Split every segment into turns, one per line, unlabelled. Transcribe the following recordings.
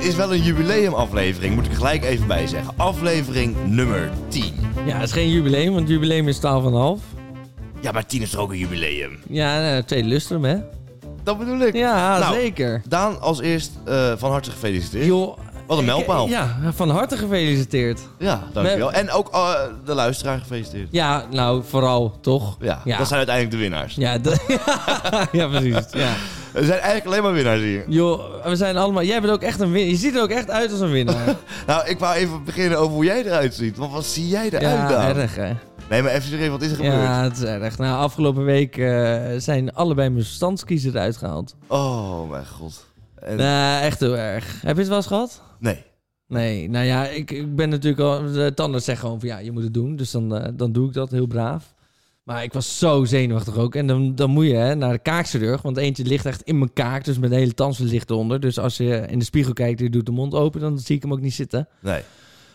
is wel een jubileumaflevering, moet ik er gelijk even bij zeggen. Aflevering nummer 10.
Ja, het is geen jubileum, want jubileum is 12,5.
Ja, maar 10 is toch ook een jubileum?
Ja, nou, tweede lustrum, hè?
Dat bedoel ik.
Ja,
Nou,
zeker.
Daan, als eerst eh, van harte gefeliciteerd.
Joh,
Wat een
ik-
mijlpaal.
Ja, van harte gefeliciteerd.
Ja, dankjewel. En ook eh, de luisteraar gefeliciteerd.
Ja, nou, vooral, toch?
Ja,
ja.
dat zijn uiteindelijk de winnaars.
Ja, dat- ja, precies. Ja.
Er zijn eigenlijk alleen maar winnaars hier.
Joh, we zijn allemaal... Jij bent ook echt een winnaar. Je ziet er ook echt uit als een winnaar.
Nou, ik wou even beginnen over hoe jij eruit ziet. Want wat zie jij eruit
ja,
Daan?
erg, hè?
Nee, maar even serieus, wat is er gebeurd?
Ja, het is erg. Nou, afgelopen week eh, zijn allebei mijn verstandskiezer eruit gehaald.
Oh, mijn god. En-
Nou, echt heel erg. Heb je het wel eens gehad?
Nee.
Nee, nou ja, ik, ik ben natuurlijk al... De tandarts zegt gewoon van ja, je moet het doen. Dus dan, eh, dan doe ik dat heel braaf. Maar ik was zo zenuwachtig ook. En dan, dan moet je hè, naar de kaakchirurg. Want eentje ligt echt in mijn kaak. Dus mijn hele tand ligt eronder. Dus als je in de spiegel kijkt en je doet de mond open... dan zie ik hem ook niet zitten.
Nee.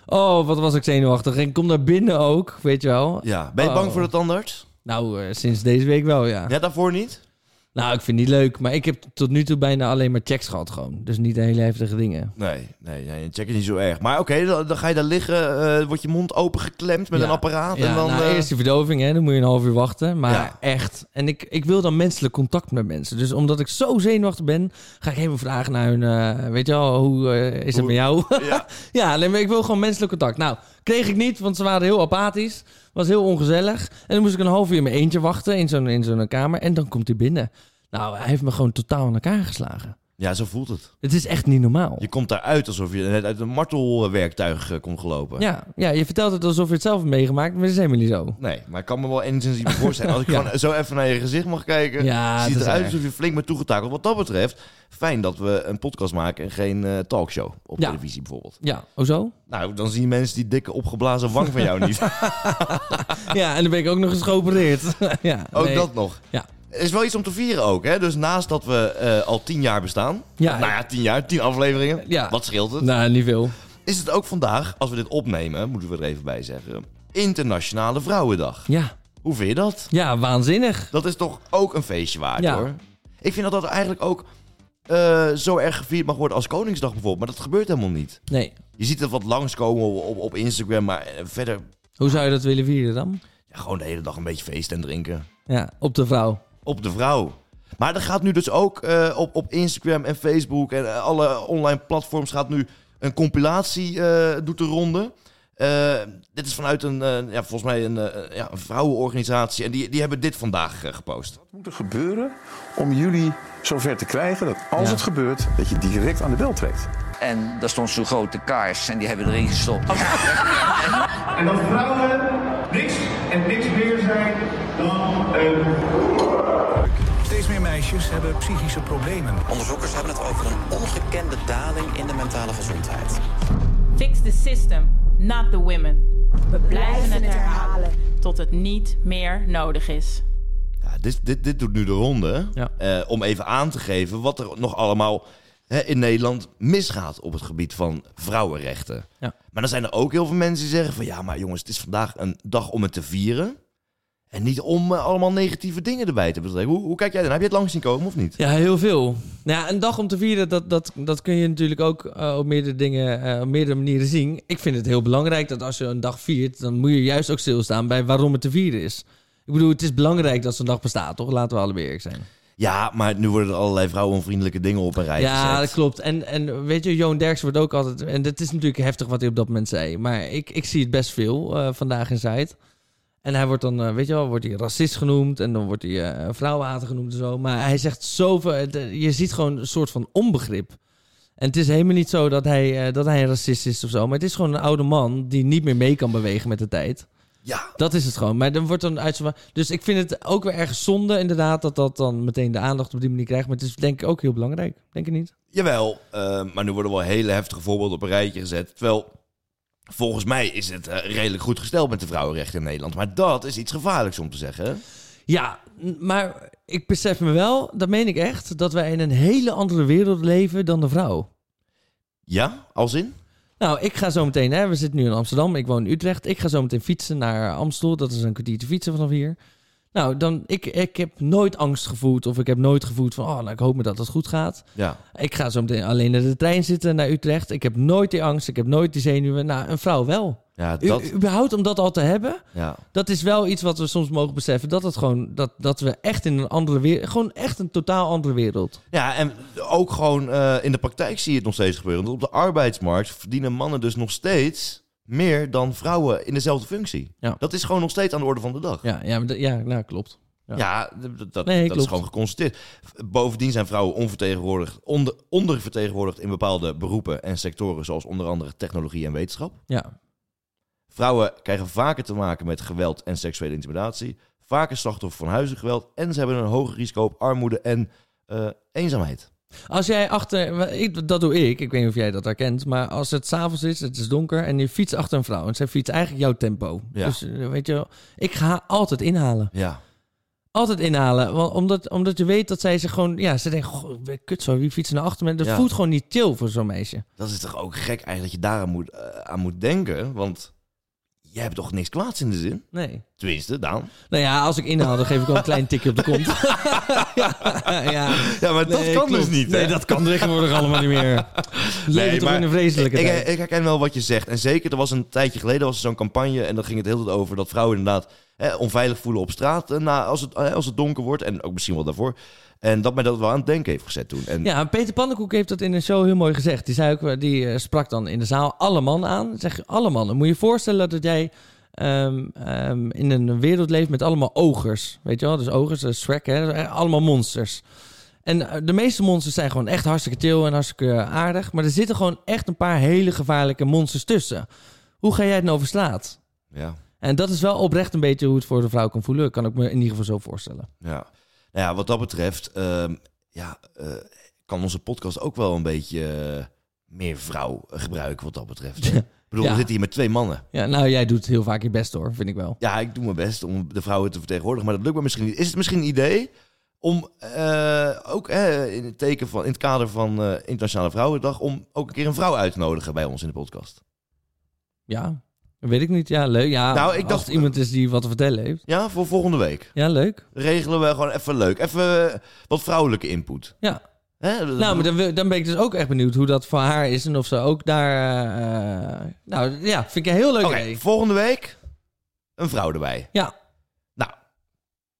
Oh, wat was ik zenuwachtig. En ik kom daar binnen ook, weet je wel.
Ja. Ben je bang
Oh.
voor de tandarts?
Nou, eh, sinds deze week wel, ja.
Net daarvoor niet?
Nou, ik vind het niet leuk. Maar ik heb tot nu toe bijna alleen maar checks gehad gewoon. Dus niet hele heftige dingen.
Nee, nee, nee. Check is niet zo erg. Maar oké, dan, dan ga je daar liggen, eh, wordt je mond opengeklemd met
Ja.
een apparaat.
Ja,
en dan,
nou,
eh,
eerst die verdoving, hè, dan moet je een half uur wachten. Maar
Ja.
echt. En ik, ik wil dan menselijk contact met mensen. Dus omdat ik zo zenuwachtig ben, ga ik helemaal vragen naar hun. eh, weet je wel, hoe eh, is het
Hoe-
met jou?
Ja.
ja, alleen maar ik wil gewoon menselijk contact. Nou, kreeg ik niet, want ze waren heel apathisch. Was heel ongezellig. En dan moest ik een half uur in mijn eentje wachten in zo'n, in zo'n kamer. En dan komt hij binnen. Nou, hij heeft me gewoon totaal aan elkaar geslagen.
ja, zo voelt het.
Het is echt niet normaal.
Je komt daaruit alsof je net uit een martelwerktuig eh, komt gelopen.
Ja, ja, je vertelt het alsof je het zelf hebt meegemaakt, maar dat is helemaal niet zo.
Nee, maar ik kan me wel enigszins iets voorstellen. Als ik
Ja.
gewoon zo even naar je gezicht mag kijken,
Ja,
ziet
het
het
is
eruit
erg.
alsof je flink bent toegetakeld. Wat dat betreft, fijn dat we een podcast maken en geen eh, talkshow op
Ja.
televisie bijvoorbeeld.
Ja, oh zo?
Nou, dan zien mensen die dikke opgeblazen wang van jou niet.
Ja, en dan ben ik ook nog eens geopereerd. ja,
ook
nee.
dat nog.
Ja.
Er is wel iets om te vieren ook, hè? Dus naast dat we eh, al tien jaar bestaan,
Ah, Ja.
nou ja, tien jaar, tien afleveringen,
Ja.
wat scheelt het?
Nou, niet veel.
Is het ook vandaag, als we dit opnemen, moeten we er even bij zeggen, Internationale Vrouwendag.
Ja,
Hoe vind je dat?
ja waanzinnig.
Dat is toch ook een feestje waard,
Ja.
hoor. Ik vind dat dat eigenlijk ook eh, zo erg gevierd mag worden als Koningsdag bijvoorbeeld. Maar dat gebeurt helemaal niet.
Nee.
Je ziet het wat langskomen op, op, op Instagram, maar eh, verder
Hoe zou je dat willen vieren dan?
ja, gewoon de hele dag een beetje feesten en drinken.
Ja, op de vrouw.
Op de vrouw. Maar er gaat nu dus ook eh, op, op Instagram en Facebook en eh, alle online platforms gaat nu een compilatie eh, doet de ronde. Eh, dit is vanuit een, eh, ja, volgens mij een, eh, ja, een vrouwenorganisatie en die, die hebben dit vandaag eh, gepost.
Wat moet er gebeuren om jullie zover te krijgen dat als
Ja.
het gebeurt, dat je direct aan de bel trekt?
En daar stond zo'n grote kaars en die hebben we erin gestopt.
En dat vrouwen niks en niks meer zijn dan eh, een
Steeds meer meisjes hebben psychische problemen.
Onderzoekers hebben het over een ongekende daling in de mentale gezondheid.
Fix the system, not the women. We blijven het herhalen tot het niet meer nodig is.
Ja, dit, dit, dit doet nu de ronde.
Ja.
Eh, om even aan te geven wat er nog allemaal hè, in Nederland misgaat op het gebied van vrouwenrechten.
Ja.
Maar dan zijn er ook heel veel mensen die zeggen van ja, maar jongens, het is vandaag een dag om het te vieren. En niet om eh, allemaal negatieve dingen erbij te betrekken. Hoe, hoe kijk jij dan? Heb je het lang zien komen of niet?
Ja, heel veel. Nou ja, een dag om te vieren, dat, dat, dat kun je natuurlijk ook eh, op meerdere dingen, eh, op meerdere manieren zien. Ik vind het heel belangrijk dat als je een dag viert, dan moet je juist ook stilstaan bij waarom het te vieren is. Ik bedoel, het is belangrijk dat zo'n dag bestaat, toch? Laten we allebei eerlijk zijn.
Ja, maar nu worden er allerlei vrouwenvriendelijke dingen op een rij
Ja, dat
gezet.
klopt. En, en weet je, Joon Derks wordt ook altijd... En dat is natuurlijk heftig wat hij op dat moment zei. Maar ik, ik zie het best veel eh, vandaag in Zuid. En hij wordt dan, eh, weet je wel, wordt hij racist genoemd. En dan wordt hij eh, vrouwenhater genoemd en zo. Maar hij zegt zoveel... het, eh, Je ziet gewoon een soort van onbegrip. En het is helemaal niet zo dat hij, eh, dat hij een racist is of zo. Maar het is gewoon een oude man die niet meer mee kan bewegen met de tijd.
Ja,
Dat is het gewoon. Maar dan wordt dan uit. Dus ik vind het ook weer erg zonde, inderdaad, dat dat dan meteen de aandacht op die manier krijgt. Maar het is denk ik ook heel belangrijk. Denk je niet?
Jawel, eh, maar nu worden wel hele heftige voorbeelden op een rijtje gezet. Terwijl, volgens mij is het eh, redelijk goed gesteld met de vrouwenrechten in Nederland. Maar dat is iets gevaarlijks om te zeggen.
Ja, n- maar ik besef me wel, dat meen ik echt, dat wij in een hele andere wereld leven dan de vrouw.
Ja, als in?
Nou, ik ga zo meteen, hè, we zitten nu in Amsterdam, ik woon in Utrecht. Ik ga zo meteen fietsen naar Amstel, dat is een kwartier te fietsen vanaf hier. Nou, dan, ik, ik heb nooit angst gevoeld of ik heb nooit gevoeld van, oh, nou, ik hoop me dat het goed gaat.
Ja.
Ik ga zo meteen alleen naar de trein zitten naar Utrecht. Ik heb nooit die angst, ik heb nooit die zenuwen. Nou, een vrouw wel.
Ja,
U,
dat,
überhaupt om dat al te hebben,
ja.
dat is wel iets wat we soms mogen beseffen. Dat het gewoon, dat, dat we echt in een andere wereld, gewoon echt een totaal andere wereld.
ja, en ook gewoon eh, in de praktijk zie je het nog steeds gebeuren. Want op de arbeidsmarkt verdienen mannen dus nog steeds meer dan vrouwen in dezelfde functie.
Ja.
Dat is gewoon nog steeds aan de orde van de dag.
Ja, ja, maar dat- ja nou, klopt. Ja.
Ja, d- d- dat,
Nee,
dat is
klopt.
gewoon geconstateerd. Bovendien zijn vrouwen onvertegenwoordigd, onder, ondervertegenwoordigd in bepaalde beroepen en sectoren, zoals onder andere technologie en wetenschap.
Ja,
Vrouwen krijgen vaker te maken met geweld en seksuele intimidatie, vaker slachtoffer van huisgeweld en ze hebben een hoger risico op armoede en eh, eenzaamheid.
Als jij achter, wa- ik, dat doe ik, ik weet niet of jij dat herkent, maar als het s'avonds is, het is donker en je fietst achter een vrouw en zij fietst eigenlijk jouw tempo.
Ja.
Dus eh, weet je, wel, ik ga haar altijd inhalen.
Ja,
Altijd inhalen, want omdat, omdat je weet dat zij zich gewoon, ja, ze denkt, "Goh, kut zo, wie fietst er nou achter me? Dat
Ja.
voelt gewoon niet chill voor zo'n meisje.
dat is toch ook gek eigenlijk dat je daar aan moet, eh, aan moet denken, want je hebt toch niks kwaads in de zin?
Nee.
Tenminste, Daan.
Nou ja, als ik inhaal, dan geef ik wel een klein tikje op de kont. ja, ja.
Ja, maar dat
Nee,
kan
klopt.
dus niet.
Nee,
hè?
dat kan tegenwoordig allemaal niet meer. Leven
Nee,
toch in een vreselijke
ik,
tijd.
ik, ik herken wel wat je zegt. En zeker, er was een tijdje geleden was er zo'n campagne... en dan ging het heel tijd over dat vrouwen inderdaad hè, onveilig voelen op straat... eh, na, als, het, eh, als het donker wordt, en ook misschien wel daarvoor. En dat mij dat wel aan het denken heeft gezet toen. En,
Ja, Peter Pannenkoek heeft dat in een show heel mooi gezegd. Die, zei ook, eh, die eh, sprak dan in de zaal alle mannen aan. Zeg, alle mannen. Moet je je voorstellen dat jij ehm, ehm, in een wereld leeft met allemaal ogers. Weet je wel? Dus ogers, eh, Shrek, hè? Eh, allemaal monsters. En eh, de meeste monsters zijn gewoon echt hartstikke til en hartstikke eh, aardig. Maar er zitten gewoon echt een paar hele gevaarlijke monsters tussen. Hoe ga jij het nou over straat?
ja,
En dat is wel oprecht een beetje hoe het voor de vrouw kan voelen. Kan ik me in ieder geval zo voorstellen.
ja. Nou ja, wat dat betreft... ehm, ja, eh, kan onze podcast ook wel een beetje eh, meer vrouw gebruiken wat dat betreft. Ik bedoel,
Ja.
we zitten hier met twee mannen.
Ja, nou, jij doet heel vaak je best hoor, vind ik wel.
Ja, ik doe mijn best om de vrouwen te vertegenwoordigen, maar dat lukt me misschien niet. Is het misschien een idee om eh, ook eh, in, het teken van, in het kader van eh, Internationale Vrouwendag... om ook een keer een vrouw uit te nodigen bij ons in de podcast?
Ja, weet ik niet. Ja, leuk. Ja,
Nou, ik
als
dacht-
het iemand is die wat te vertellen heeft.
Ja, voor volgende week.
Ja, leuk.
Regelen we gewoon even leuk. Even eh, wat vrouwelijke input.
Ja.
Hè?
Nou, maar dan, wil- dan ben ik dus ook echt benieuwd hoe dat voor haar is en of ze ook daar... eh, eh, nou, ja, vind ik een heel leuk
Oké,
idee.
volgende week een vrouw erbij.
Ja,
Nou,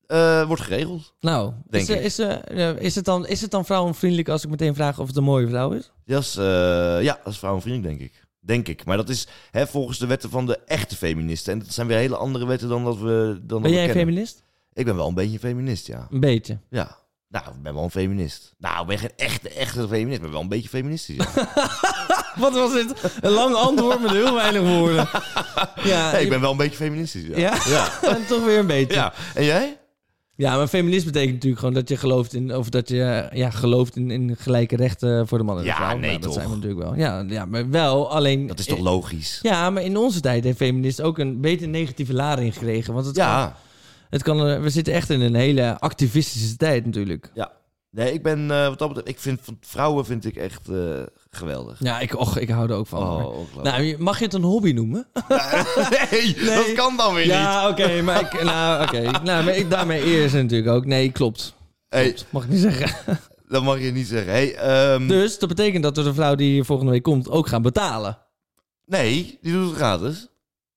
eh, wordt geregeld.
nou.
Denk
is, ze-
ik.
Is, ze- eh, is, het dan, is het dan vrouwenvriendelijk als ik meteen vraag of het een mooie vrouw is?
Dat is, eh, ja, dat is vrouwenvriendelijk, denk ik. Denk ik. Maar dat is hè, volgens de wetten van de echte feministen. En dat zijn weer hele andere wetten dan dat we. Dan
Ben
dat
jij
we kennen.
een feminist?
Ik ben wel een beetje een feminist, ja.
Een beetje.
Ja. Nou, ik ben wel een feminist. Nou, ik ben geen echte, echte feminist, maar wel een beetje feministisch. Ja.
Wat was dit? Een lang antwoord met heel weinig woorden. Ja,
Nee, ik ben wel een beetje feministisch, ja.
Ja?
Ja.
en toch weer een beetje.
Ja. En jij?
Ja, maar feminist betekent natuurlijk gewoon dat je gelooft in, of dat je ja, gelooft in, in gelijke rechten voor de man en de
Ja,
vrouw.
nee,
Nou, dat
toch.
zijn we natuurlijk wel. Ja, ja maar wel, alleen...
Dat is toch logisch?
Ja, maar in onze tijd heeft feminist ook een beter negatieve lading gekregen. Want het kan,
Ja.
het kan, eh, we zitten echt in een hele activistische tijd natuurlijk.
ja. Nee, ik ben, eh, wat dat betreft, ik vind van vrouwen vind ik echt eh, geweldig.
Ja, ik, och, ik hou er ook van.
Oh,
hoor.
ongelooflijk.
nou, je- mag je het een hobby noemen?
nee, dat kan dan weer niet.
Nou, ja, oké, maar ik, nou, oké. nou, maar ik, daarmee eerst natuurlijk ook. Nee, klopt.
Hey,
Mag ik niet zeggen.
dat mag je niet zeggen. Hey, ehm,
Dus dat betekent dat we de vrouw die hier volgende week komt ook gaan betalen.
Nee, die doet het
Ah,
gratis.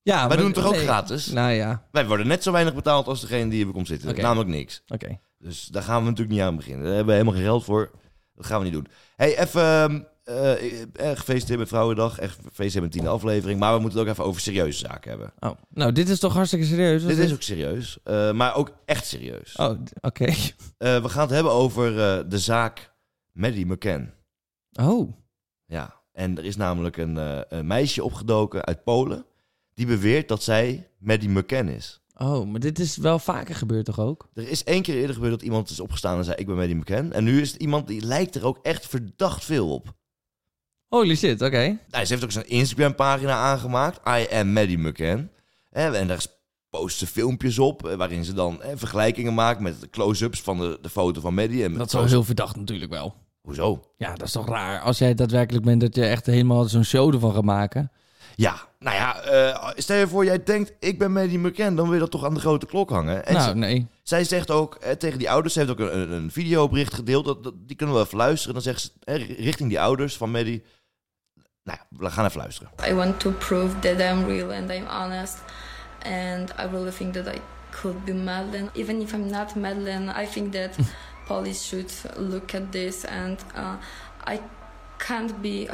Ja,
Wij doen het toch ook gratis?
Nou ja,
Wij worden net zo weinig betaald als degene die hier komt zitten.
Oké.
Namelijk niks.
oké.
Dus daar gaan we natuurlijk niet aan beginnen. Daar hebben we helemaal geen geld voor. Dat gaan we niet doen. hey, even... ehm, eh, eh, gefeliciteerd met Vrouwendag. Echt gefeliciteerd met de tiende aflevering. Maar we moeten het ook even over serieuze zaken hebben.
Oh, nou, dit is toch hartstikke serieus?
Dit is ook serieus. eh, maar ook echt serieus.
Oh, d- oké.
Eh, we gaan het hebben over eh, de zaak Maddie McCann.
Oh,
Ja. En er is namelijk een, eh, een meisje opgedoken uit Polen... die beweert dat zij Maddie McCann is.
oh, maar dit is wel vaker gebeurd toch ook?
Er is één keer eerder gebeurd dat iemand is opgestaan en zei: Ik ben Maddie McCann. En nu is het iemand die lijkt er ook echt verdacht veel op.
Holy shit, oké.
Nou, ze heeft ook zijn Instagram-pagina aangemaakt: I am Maddie McCann. Hè, En daar post ze filmpjes op eh, waarin ze dan eh, vergelijkingen maakt met de close-ups van de, de foto van Maddie. En met
Dat is wel
close-
heel verdacht natuurlijk wel.
Hoezo?
Ja, dat is toch raar als jij daadwerkelijk bent dat je echt helemaal zo'n show ervan gaat maken.
Ja, nou ja, eh, stel je voor, jij denkt, ik ben Maddie McCann, dan wil je dat toch aan de grote klok hangen. En
nou,
ze-
nee.
zij zegt ook eh, tegen die ouders, ze heeft ook een, een- een videobericht gedeeld, dat, dat- die kunnen we even luisteren. Dan zegt ze eh, richting die ouders van Maddie, nou ja, we gaan even luisteren.
I want to prove that I'm real and I'm honest, and I really think that I could be Madeline. Even if I'm not Madeline, I think that police should look at this, and uh, I can't be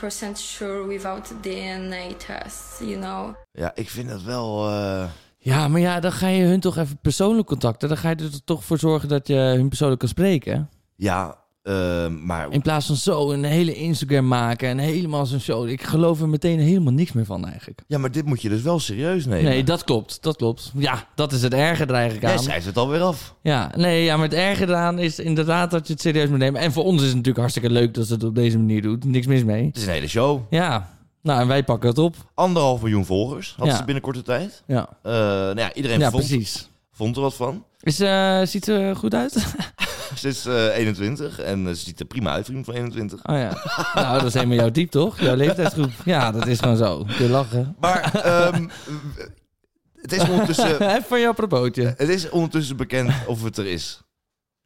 100% sure without DNA tests, you know.
Ja, ik vind dat wel... eh,
Ja, maar ja, dan ga je hun toch even persoonlijk contacten. Dan ga je er toch voor zorgen dat je hun persoonlijk kan spreken.
ja, eh, maar...
In plaats van zo een hele Instagram maken en helemaal zo'n show. Ik geloof er meteen helemaal niks meer van eigenlijk.
Ja, maar dit moet je dus wel serieus nemen.
Nee, dat klopt. Dat klopt. Ja, dat is het erge er eigenlijk
Jij
aan.
schrijft het alweer af.
Ja, nee, ja, maar het erge eraan is inderdaad dat je het serieus moet nemen. En voor ons is het natuurlijk hartstikke leuk dat ze het op deze manier doet. Niks mis mee.
Het is een hele show.
Ja, nou en wij pakken het op.
Anderhalf miljoen volgers had
Ja.
ze binnen korte tijd.
Ja,
Eh, nou ja, iedereen
ja
vond,
precies.
vond er wat van.
Is, eh, ziet er goed uit?
Ze is eh, 21 en eh, ze ziet er prima uit, vriend van 21.
Oh ja. nou, dat is helemaal jouw diep, toch? Jouw leeftijdsgroep. Ja, dat is gewoon zo. Kun je lachen.
Maar ehm, w- het, is ondertussen,
Even van jouw propootje.
het is ondertussen bekend of het er is.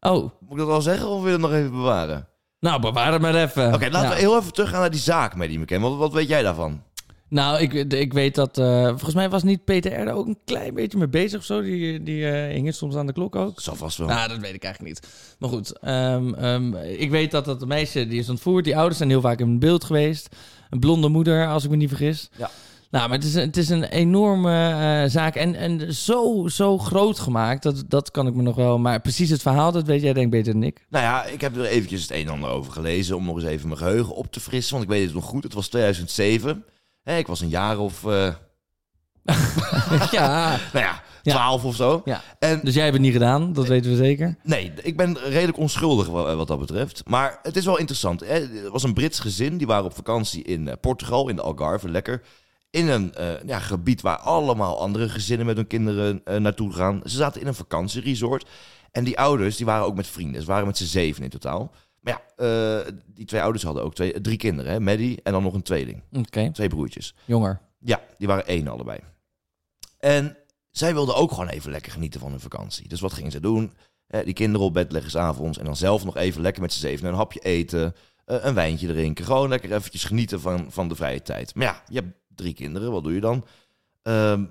Oh,
Moet ik dat al zeggen of wil je het nog even bewaren? Oké,
nou, bewaar het maar even.
laten
Ja.
we heel even teruggaan naar die zaak met die McCann. Wat, wat weet jij daarvan?
Nou, ik, ik weet dat... eh, volgens mij was niet Peter R. daar ook een klein beetje mee bezig of zo. Die, die eh, hing soms aan de klok ook.
Dat zal vast wel.
Nou, dat weet ik eigenlijk niet. Maar goed, ehm, ehm, ik weet dat dat meisje die is ontvoerd. Die ouders zijn heel vaak in beeld geweest. Een blonde moeder, als ik me niet vergis.
Ja.
Nou, maar het is, een- het is een enorme eh, zaak. En, en zo, zo groot gemaakt, dat, dat kan ik me nog wel... Maar precies het verhaal, dat weet jij denk ik beter dan ik.
Nou ja, ik heb er eventjes het een en ander over gelezen om nog eens even mijn geheugen op te frissen. Want ik weet het nog goed, het was 2007. Hè, ik was een jaar of, eh,
ja.
nou ja,
Ja.
12 of zo.
ja.
En
Dus jij hebt het niet gedaan, dat weten we zeker.
Nee, ik ben redelijk onschuldig wa- wat dat betreft. Maar het is wel interessant. hè. Het was een Brits gezin, die waren op vakantie in eh, Portugal, in de Algarve, lekker. In een eh, ja, gebied waar allemaal andere gezinnen met hun kinderen eh, naartoe gaan. Ze zaten in een vakantieresort. En die ouders, die waren ook met vrienden. Ze waren met z'n zeven in totaal. Maar ja, eh, die twee ouders hadden ook twee, eh, drie kinderen. Hè? Maddie en dan nog een tweeling.
Oké,
Twee broertjes.
jonger.
Ja, die waren één allebei. En zij wilden ook gewoon even lekker genieten van hun vakantie. Dus wat gingen ze doen? Eh, die kinderen op bed leggen 's avonds en dan zelf nog even lekker met z'n zeven een hapje eten, eh, een wijntje drinken. Gewoon lekker eventjes genieten van, van de vrije tijd. Maar ja, je hebt drie kinderen, wat doe je dan? Ehm,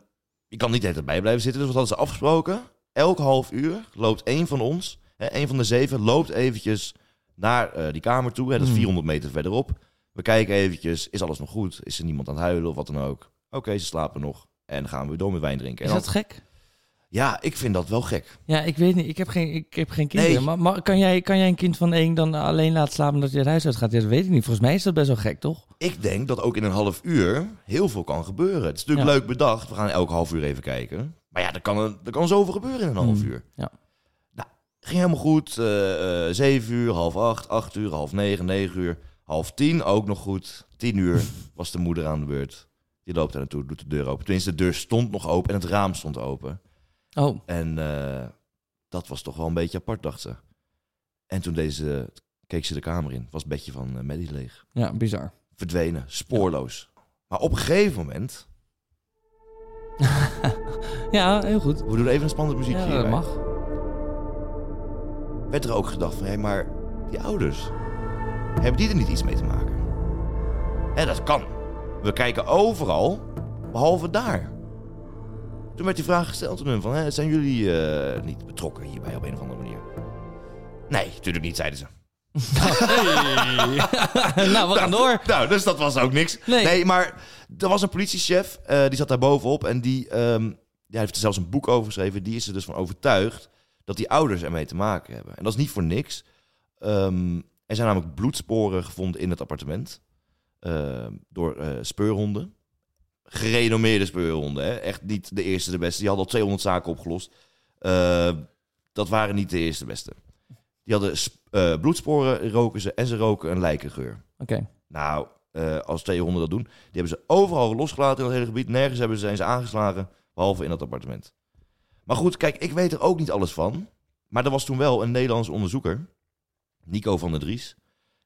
je kan niet de hele tijd bij blijven zitten, dus wat hadden ze afgesproken? Elk half uur loopt één van ons, hè, één van de zeven, loopt eventjes naar eh, die kamer toe. Hè, dat is
Hmm.
400 meter verderop. We kijken eventjes, is alles nog goed? Is er niemand aan het huilen of wat dan ook? Oké, ze slapen nog. En dan gaan we weer door met wijn drinken.
Is
En
dat
dan-
gek?
Ja, ik vind dat wel gek.
Ja, ik weet niet. Ik heb geen, ik heb geen kinderen.
Nee.
Maar, maar kan, jij, kan jij een kind van één dan alleen laten slapen omdat je het huis uit gaat? Ja, dat weet ik niet. Volgens mij is dat best wel gek, toch?
Ik denk dat ook in een half uur heel veel kan gebeuren. Het is natuurlijk
Ja.
leuk bedacht. We gaan elk half uur even kijken. Maar ja, er kan, een, er kan zoveel gebeuren in een half
Hmm,
uur.
ja.
Nou, ging helemaal goed. Eh, eh, Zeven uur, half acht, acht uur, half negen, negen uur, half tien ook nog goed. Tien uur was de moeder aan de beurt. Die loopt daar naartoe, doet de deur open. Tenminste, de deur stond nog open en het raam stond open.
Oh,
En eh, dat was toch wel een beetje apart, dacht ze. En toen deze, keek ze de kamer in. Was het bedje van eh, Maddie leeg
ja, bizar.
verdwenen, spoorloos. Maar op een gegeven moment,
Ja, heel goed.
we doen even een spannend muziekje
Ja, dat
hierbij,
mag.
werd er ook gedacht van, hé, maar die ouders, hebben die er niet iets mee te maken? En dat kan. We kijken overal, behalve daar. Toen werd die vraag gesteld aan hun van, hè, zijn jullie eh, niet betrokken hierbij op een of andere manier? Nee, natuurlijk niet, zeiden ze.
nou, we gaan door.
Nou, dus dat was ook niks.
Nee.
Nee, maar er was een politiechef, eh, die zat daar bovenop. En die ehm, ja, heeft er zelfs een boek over geschreven. Die is er dus van overtuigd dat die ouders ermee te maken hebben. En dat is niet voor niks. Ehm, er zijn namelijk bloedsporen gevonden in het appartement. ehm, door eh, speurhonden. Gerenommeerde speurhonden. Hè? Echt niet de eerste, de beste. Die hadden al 200 zaken opgelost. Ehm, dat waren niet de eerste, de beste. Die hadden sp- eh, bloedsporen, roken ze. En ze roken een lijkengeur.
Oké.
Nou, eh, als twee honden dat doen. Die hebben ze overal losgelaten in dat hele gebied. Nergens hebben ze zijn ze aangeslagen, behalve in dat appartement. Maar goed, kijk, ik weet er ook niet alles van. Maar er was toen wel een Nederlands onderzoeker, Nico van der Dries.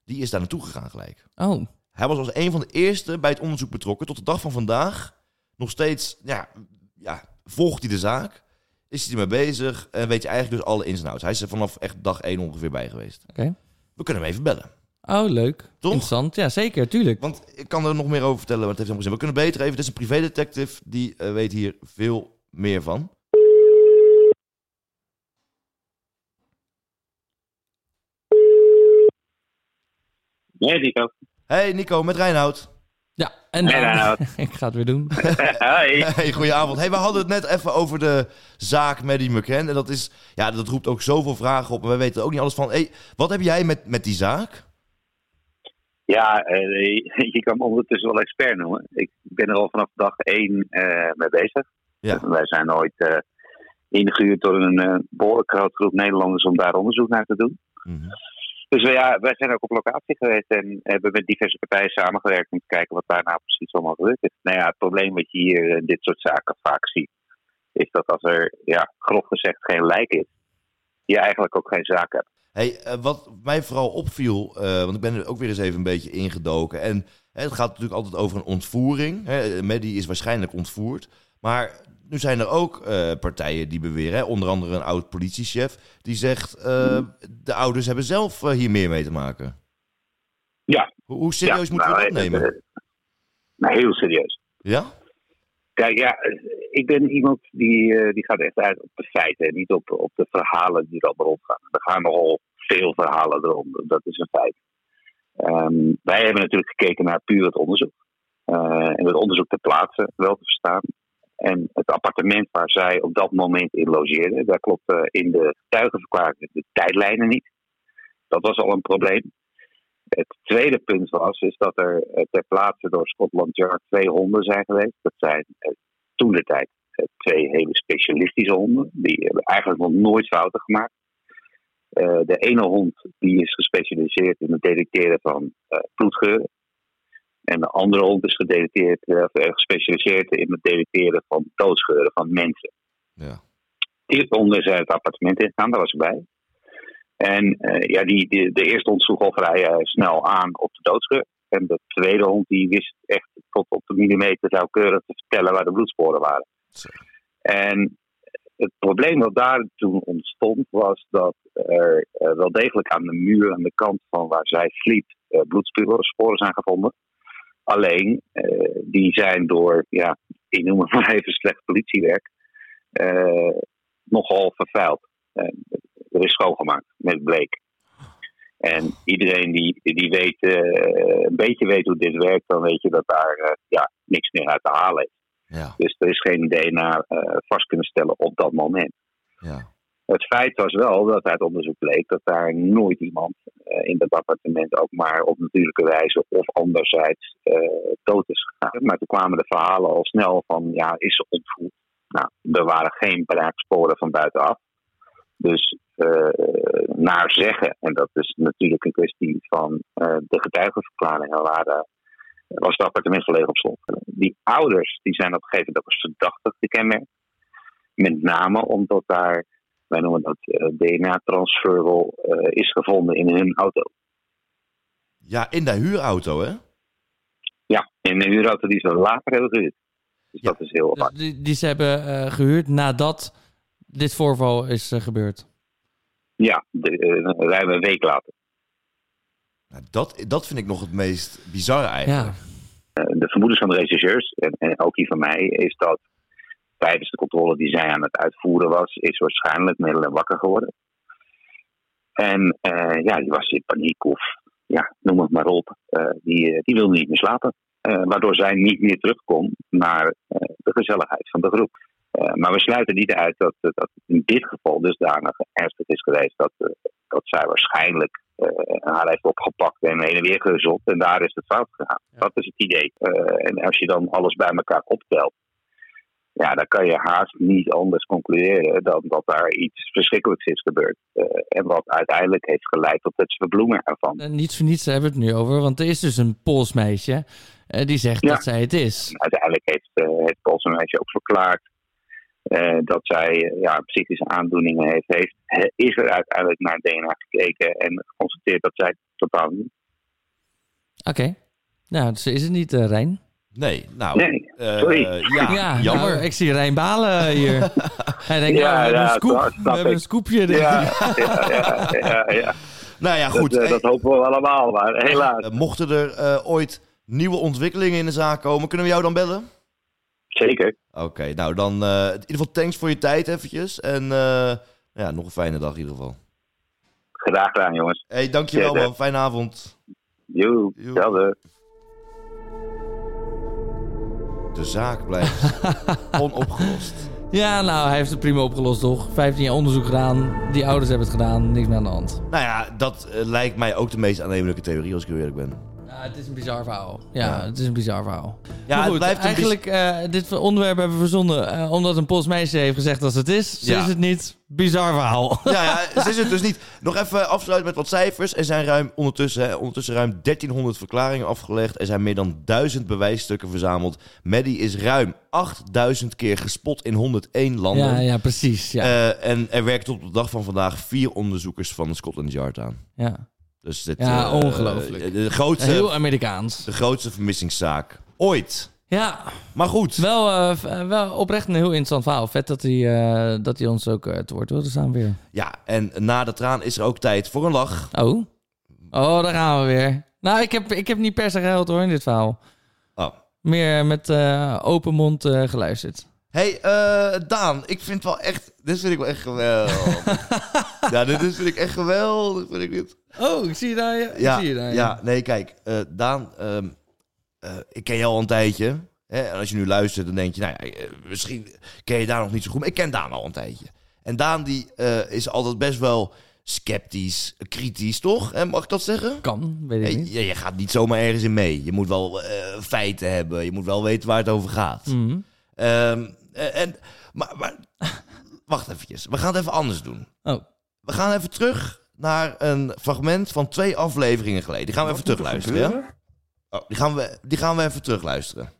Die is daar naartoe gegaan gelijk.
Oh,
Hij Hij was als een van de eerste bij het onderzoek betrokken. Tot de dag van vandaag nog steeds, ja, ja volgt hij de zaak. Is hij ermee bezig en weet je eigenlijk dus alle ins en outs. Hij is er vanaf echt dag één ongeveer bij geweest.
Oké.
We kunnen hem even bellen.
Oh, leuk. Interessant. Ja, zeker. Tuurlijk.
Want ik kan er nog meer over vertellen, want het heeft helemaal geen zin. We kunnen beter even, het is een privédetective, die eh, weet hier veel meer van.
Nee, Nico.
Hey Nico, met Reinoud.
Ja, en
Nee, nou, nou.
ik ga het weer doen.
Hoi.
Hey, goedenavond. Hey, we hadden het net even over de zaak Maddie McCann. En dat, is, ja, dat roept ook zoveel vragen op. Maar wij weten er ook niet alles van. Hey, wat heb jij met, met die zaak?
Ja, eh, je kan me ondertussen wel expert noemen. Ik ben er al vanaf dag één eh, mee bezig.
Ja.
Wij zijn ooit eh, ingehuurd door een eh behoorlijk grote groep Nederlanders om daar onderzoek naar te doen.
Mhm.
Dus eh, ja, wij zijn ook op locatie geweest en hebben met diverse partijen samengewerkt om te kijken wat daar nou precies allemaal gebeurd is. Nou ja, het probleem wat je hier in dit soort zaken vaak ziet, is dat als er ja, grof gezegd geen lijk is, je eigenlijk ook geen zaak hebt.
Hey, eh, wat mij vooral opviel, eh, want ik ben er ook weer eens even een beetje ingedoken. En hè, het gaat natuurlijk altijd over een ontvoering. Hè. Eh, Maddie is waarschijnlijk ontvoerd. Maar nu zijn er ook eh, partijen die beweren, hè, onder andere een oud politiechef, die zegt: eh, de ouders hebben zelf eh, hier meer mee te maken.
Ja.
Hoe, hoe serieus
ja,
moeten
nou,
we dat nemen?
eh, nou, heel serieus.
ja?
Kijk, ja, ik ben iemand die, eh, die gaat echt uit op de feiten en niet op, op de verhalen die er allemaal rondgaan. Er gaan nogal veel verhalen eronder, dat is een feit. Ehm, wij hebben natuurlijk gekeken naar puur het onderzoek. Eh, en het onderzoek ter plaatse wel te verstaan. En het appartement waar zij op dat moment in logeerden, daar klopte in de getuigenverklaring de tijdlijnen niet. Dat was al een probleem. Het tweede punt was is dat er eh, ter plaatse door Scotland Yard twee honden zijn geweest. Dat zijn toen de tijd eh, twee hele specialistische honden. Die hebben eigenlijk nog nooit fouten gemaakt. Eh, de ene hond die is gespecialiseerd in het detecteren van eh bloedgeuren. En de andere hond is gedetecteerd, eh, of, eh, gespecialiseerd in het detecteren van doodsgeuren van mensen.
Ja.
Die onder zijn het appartement ingegaan, daar was ik bij. En eh, ja, die, die- de eerste hond sloeg al vrij eh, snel aan op de doodsgeur. En de tweede hond die wist echt tot op de millimeter nauwkeurig te vertellen waar de bloedsporen waren.
Zo.
En het probleem wat daar toen ontstond was dat er eh, wel degelijk aan de muur aan de kant van waar zij sliep eh bloedsporen zijn gevonden. Alleen eh, die zijn door, ja, ik noem het maar even slecht politiewerk, eh, nogal vervuild. Eh, er is schoongemaakt met bleek. En iedereen die, die weet, eh, een beetje weet hoe dit werkt, dan weet je dat daar eh, ja, niks meer uit te halen is.
Ja,
Dus er is geen DNA eh, vast kunnen stellen op dat moment.
ja.
Het feit was wel dat uit onderzoek bleek dat daar nooit iemand eh, in dat appartement ook maar op natuurlijke wijze of anderzijds eh, dood is gegaan. Maar toen kwamen de verhalen al snel van, ja, is ze ontvoerd? Nou, er waren geen braaksporen van buitenaf. Dus eh, naar zeggen, en dat is natuurlijk een kwestie van eh, de getuigenverklaringen, waren, eh, was het appartement gelegen op slot. Die ouders die zijn op een gegeven moment ook als verdachte gekenmerkt. Met name omdat daar wij noemen dat eh, DNA-transferable, eh, is gevonden in hun auto.
ja, in de huurauto, hè?
Ja, in een huurauto die ze later hebben gehuurd. Dus
Ja,
dat is heel
Dus
apart.
die, die ze hebben eh, gehuurd nadat dit voorval is eh, gebeurd.
Ja, de, eh, ruim een week later.
Nou, dat, dat vind ik nog het meest bizarre eigenlijk.
Ja.
Eh, de vermoedens van de regisseurs, en, en ook die van mij, is dat tijdens de controle die zij aan het uitvoeren was, is waarschijnlijk Madeleine wakker geworden. En eh, ja, die was in paniek of ja, noem het maar op. Eh, die, eh, die wilde niet meer slapen. Eh, waardoor zij niet meer terugkomt naar eh, de gezelligheid van de groep. Eh, maar we sluiten niet uit dat, dat in dit geval dusdanig ernstig is geweest dat, eh, dat zij waarschijnlijk eh, haar heeft opgepakt en heen en weer gehuzzeld. En daar is het fout gegaan. Dat is het idee. Eh, en als je dan alles bij elkaar optelt, ja, dan kan je haast niet anders concluderen dan dat daar iets verschrikkelijks is gebeurd. Eh, en wat uiteindelijk heeft geleid tot het verbloemen ervan.
En Eh, niet voor niets hebben we het nu over, want er is dus een Pools meisje eh, die zegt
Ja.
dat zij het is.
uiteindelijk heeft eh, het Poolse meisje ook verklaard eh, dat zij eh, ja, psychische aandoeningen heeft. heeft. He- Is er uiteindelijk naar DNA gekeken en geconstateerd dat zij het totaal niet.
Oké. Nou, zo is het niet, eh, Rijn.
Nee, nou.
Nee,
eh,
sorry.
ja, jammer.
nou, ik zie Rijn balen hier. Hij denkt,
Ja,
nou, we hebben
ja,
een scoop.
dat snap
we hebben
ik.
een scoopje.
Ja, ja, ja, ja, ja.
nou ja, goed.
Dat, eh, dat
eh,
hopen we allemaal, maar helaas.
eh, mochten er eh, ooit nieuwe ontwikkelingen in de zaak komen, kunnen we jou dan bellen?
Zeker.
Oké, nou dan eh, in ieder geval thanks voor je tijd eventjes. En eh, ja, nog een fijne dag in ieder geval.
Graag gedaan, jongens.
hey, dankjewel
Ja, ja.
man. Fijne avond.
Joe,
Joe.
hetzelfde.
De zaak blijft onopgelost.
Ja, nou, hij heeft het prima opgelost, toch? 15 jaar onderzoek gedaan. Die ouders hebben het gedaan. Niks meer aan de hand.
Nou ja, dat eh, lijkt mij ook de meest aannemelijke theorie als ik heel eerlijk ben.
Ja, Nou, het is een bizar verhaal. Ja, het is een bizar verhaal.
Ja,
maar
het
goed,
blijft een
eigenlijk, eh, dit onderwerp hebben we verzonnen eh, omdat een Pools meisje heeft gezegd dat ze het is. Ze
Ja.
is het niet. Bizar verhaal.
Ja, ja, ze is het dus niet. Nog even afsluiten met wat cijfers. Er zijn ruim ondertussen, hè, ondertussen ruim 1300 verklaringen afgelegd. Er zijn meer dan 1000 bewijsstukken verzameld. Maddie is ruim 8000 keer gespot in 101 landen.
Ja, ja, precies. Ja.
Eh, en er werken tot op de dag van vandaag vier onderzoekers van Scotland Yard aan.
ja.
Dus dit,
Ja,
eh,
ongelooflijk.
eh, De grootste,
Heel Amerikaans.
de grootste vermissingszaak ooit.
Ja,
Maar goed.
wel, eh, v- eh, wel oprecht een heel interessant verhaal. Vet dat hij, eh, dat hij ons ook eh, het woord wilde staan weer.
Ja, en na de traan is er ook tijd voor een lach.
Oh. Oh, daar gaan we weer. Nou, ik heb, ik heb niet per se gehuild hoor in dit verhaal.
Oh.
Meer met eh, open mond eh, geluisterd.
Hey, eh, Daan, ik vind wel echt. Dit vind ik wel echt geweldig. ja, dit is- vind ik echt geweldig. Vind ik dit.
Oh, ik zie je daar. Ja,
Ja,
ik zie je daar,
ja, nee, kijk, eh, Daan, ehm, eh, ik ken jou al een tijdje. Hè? En als je nu luistert, dan denk je, nou ja, eh, misschien ken je Daan nog niet zo goed. Maar ik ken Daan al een tijdje. En Daan, die eh, is altijd best wel sceptisch, kritisch, toch? En mag ik dat zeggen?
Kan, weet ik
Hey,
niet.
je, je gaat niet zomaar ergens in mee. Je moet wel eh, feiten hebben. Je moet wel weten waar het over gaat.
Mhm.
Ehm, eh, en, maar, maar wacht eventjes. We gaan het even anders doen.
Oh,
We gaan even terug naar een fragment van twee afleveringen geleden. Die gaan we even terugluisteren. Ja? Oh, die, gaan we, die gaan we even terugluisteren.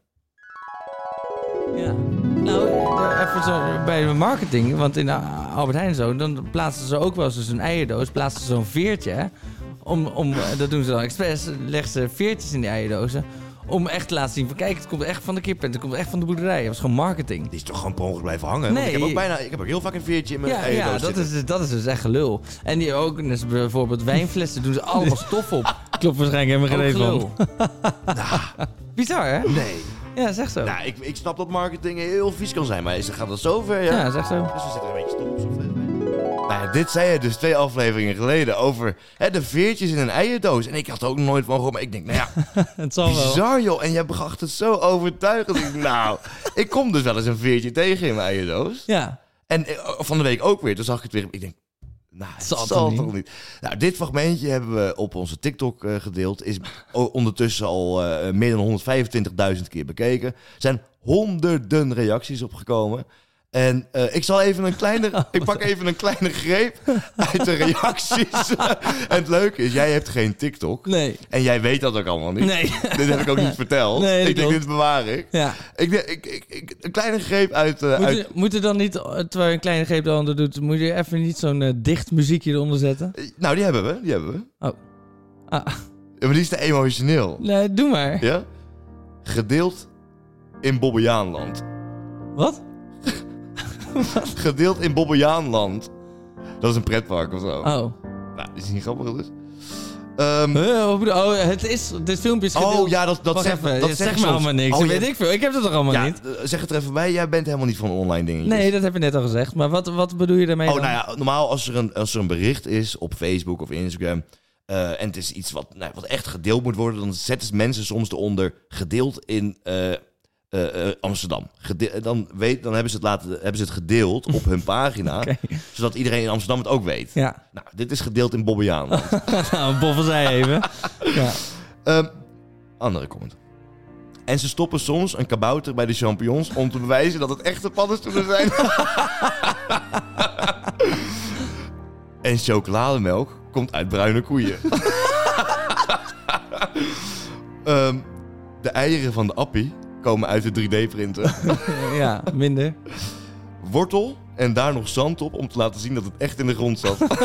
ja. Nou, eh, even zo bij de marketing. Want in eh, Albert Heijn zo, dan plaatsen ze ook wel eens dus een eierdoos. Plaatsen ze zo'n veertje, hè. Om, om, eh, dat doen ze dan expres. Leggen ze veertjes in die eierdozen. Om echt te laten zien van, kijk, het komt echt van de kip en het komt echt van de boerderij. Dat is gewoon marketing.
Die is toch gewoon per ongeluk blijven hangen? Nee.
Nee.
ik heb ook bijna, ik heb ook heel vaak een veertje in mijn
Ja,
eierdoos
ja dat,
zitten.
is, dat is dus echt gelul. En die ook, dus bijvoorbeeld wijnflessen, doen ze allemaal stof op.
Klopt waarschijnlijk helemaal geen
Ook
reden
gelul. Bizar, hè?
Nou. Nee.
Ja, zeg zo.
Nou, ik, ik snap dat marketing heel vies kan zijn, maar is, gaat dat zover? Ja.
Ja, zeg zo.
Dus we zitten een beetje stom op zo'n aflevering. Nou, ja, dit zei je dus twee afleveringen geleden over hè, de veertjes in een eierdoos. En ik had er ook nog nooit van gehoord, maar ik denk, nou ja,
Het
Oh,
zal wel.
bizar joh. En jij bracht het zo overtuigend. Ik, nou, ik kom dus wel eens een veertje tegen in mijn eierdoos.
Ja.
En eh, van de week ook weer, toen zag ik het weer. Ik denk, nou, het
Zal
zal,
toch niet?
toch niet. Nou, dit fragmentje hebben we op onze TikTok eh, gedeeld. Is o- ondertussen al eh, meer dan 125.000 keer bekeken. Er zijn honderden reacties opgekomen. En eh, ik zal even een kleine... Ik pak even een kleine greep uit de reacties. en het leuke is, jij hebt geen TikTok.
Nee.
En jij weet dat ook allemaal niet.
Nee.
Dit heb ik ook niet verteld.
Nee, dat
ik denk,
klopt.
dit bewaar ik.
Ja.
Ik, denk- ik, ik, ik- Een kleine greep uit... eh,
Moet,
uit
je, moet er dan niet, eh, terwijl je een kleine greep de handen doet, moet je even niet zo'n eh, dicht muziekje eronder zetten?
Nou, die hebben we. Die hebben we.
Ah,
Ja, maar die is te emotioneel.
nee, doe maar.
Ja? Gedeeld in Bobbejaanland.
Wat?
Gedeeld in Bobbejaanland. Dat is een pretpark of zo.
Oh.
Nou, is niet grappig dus. Ehm,
Eh, wat bedoel- oh, het is, dit filmpje is
oh
gedeeld.
ja, dat, dat
Wacht
zegt
even,
dat
dit
zeg
zegt
je
me
soms.
allemaal niks.
Oh,
dat
je-
weet ik veel. Ik heb dat toch allemaal
ja,
niet?
eh, Zeg het er even bij. Jij bent helemaal niet van online dingetjes.
Nee, dat heb je net al gezegd. Maar wat, wat bedoel je daarmee
Oh,
dan?
nou ja, normaal als er een, als er een bericht is op Facebook of Instagram... eh, en het is iets wat, nou, wat echt gedeeld moet worden... dan zetten mensen soms eronder gedeeld in eh, eh, eh, Amsterdam. Gede- dan, weet, dan hebben ze het, laten, hebben ze het gedeeld op hun pagina... zodat iedereen in Amsterdam het ook weet.
Ja.
Nou, dit is gedeeld in Bobbejaan.
Nou,
Oh,
boffen zij even. ja.
Ehm, andere comment. En ze stoppen soms een kabouter bij de champignons om te bewijzen dat het echte paddenstoelen zijn. en chocolademelk komt uit bruine koeien. Ehm, de eieren van de appie komen uit de 3D-printer.
ja, minder.
Wortel en daar nog zand op om te laten zien dat het echt in de grond zat.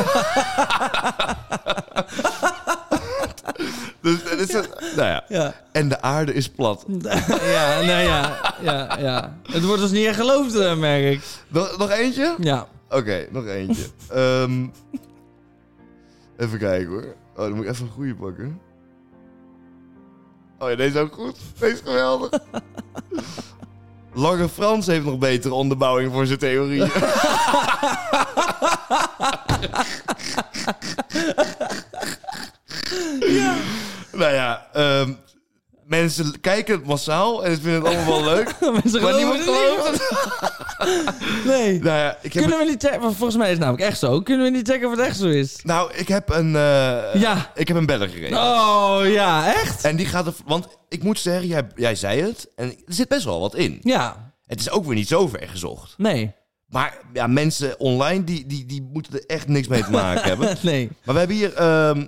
Dus, dit is het- nou ja. En de aarde is plat.
ja, nou ja, ja, ja. Het wordt dus niet echt geloofd, eh, merk ik.
Nog, nog eentje?
Ja.
Oké, nog eentje. Ehm, even kijken hoor. Oh, dan moet ik even een goede pakken. Oh ja, deze is ook goed. Deze is geweldig. Lange Frans heeft nog betere onderbouwing voor zijn theorieën. Nou ja, ehm, mensen kijken het massaal en ze vinden het allemaal wel leuk.
Mensen
maar
geloven
niemand
het niet.
gelooft het.
Nee.
Nou ja, ik heb
Kunnen we niet checken? want Volgens mij is het namelijk echt zo. Kunnen we niet checken of het echt zo is?
Nou, ik heb een... eh,
Ja.
Ik heb een beller geregeld.
Oh, ja, echt?
En die gaat er... Want ik moet zeggen, jij, jij zei het. En er zit best wel wat in.
Ja.
Het is ook weer niet zo ver gezocht.
Nee.
Maar ja, mensen online, die, die, die moeten er echt niks mee te maken hebben.
Nee.
Maar we hebben hier... ehm,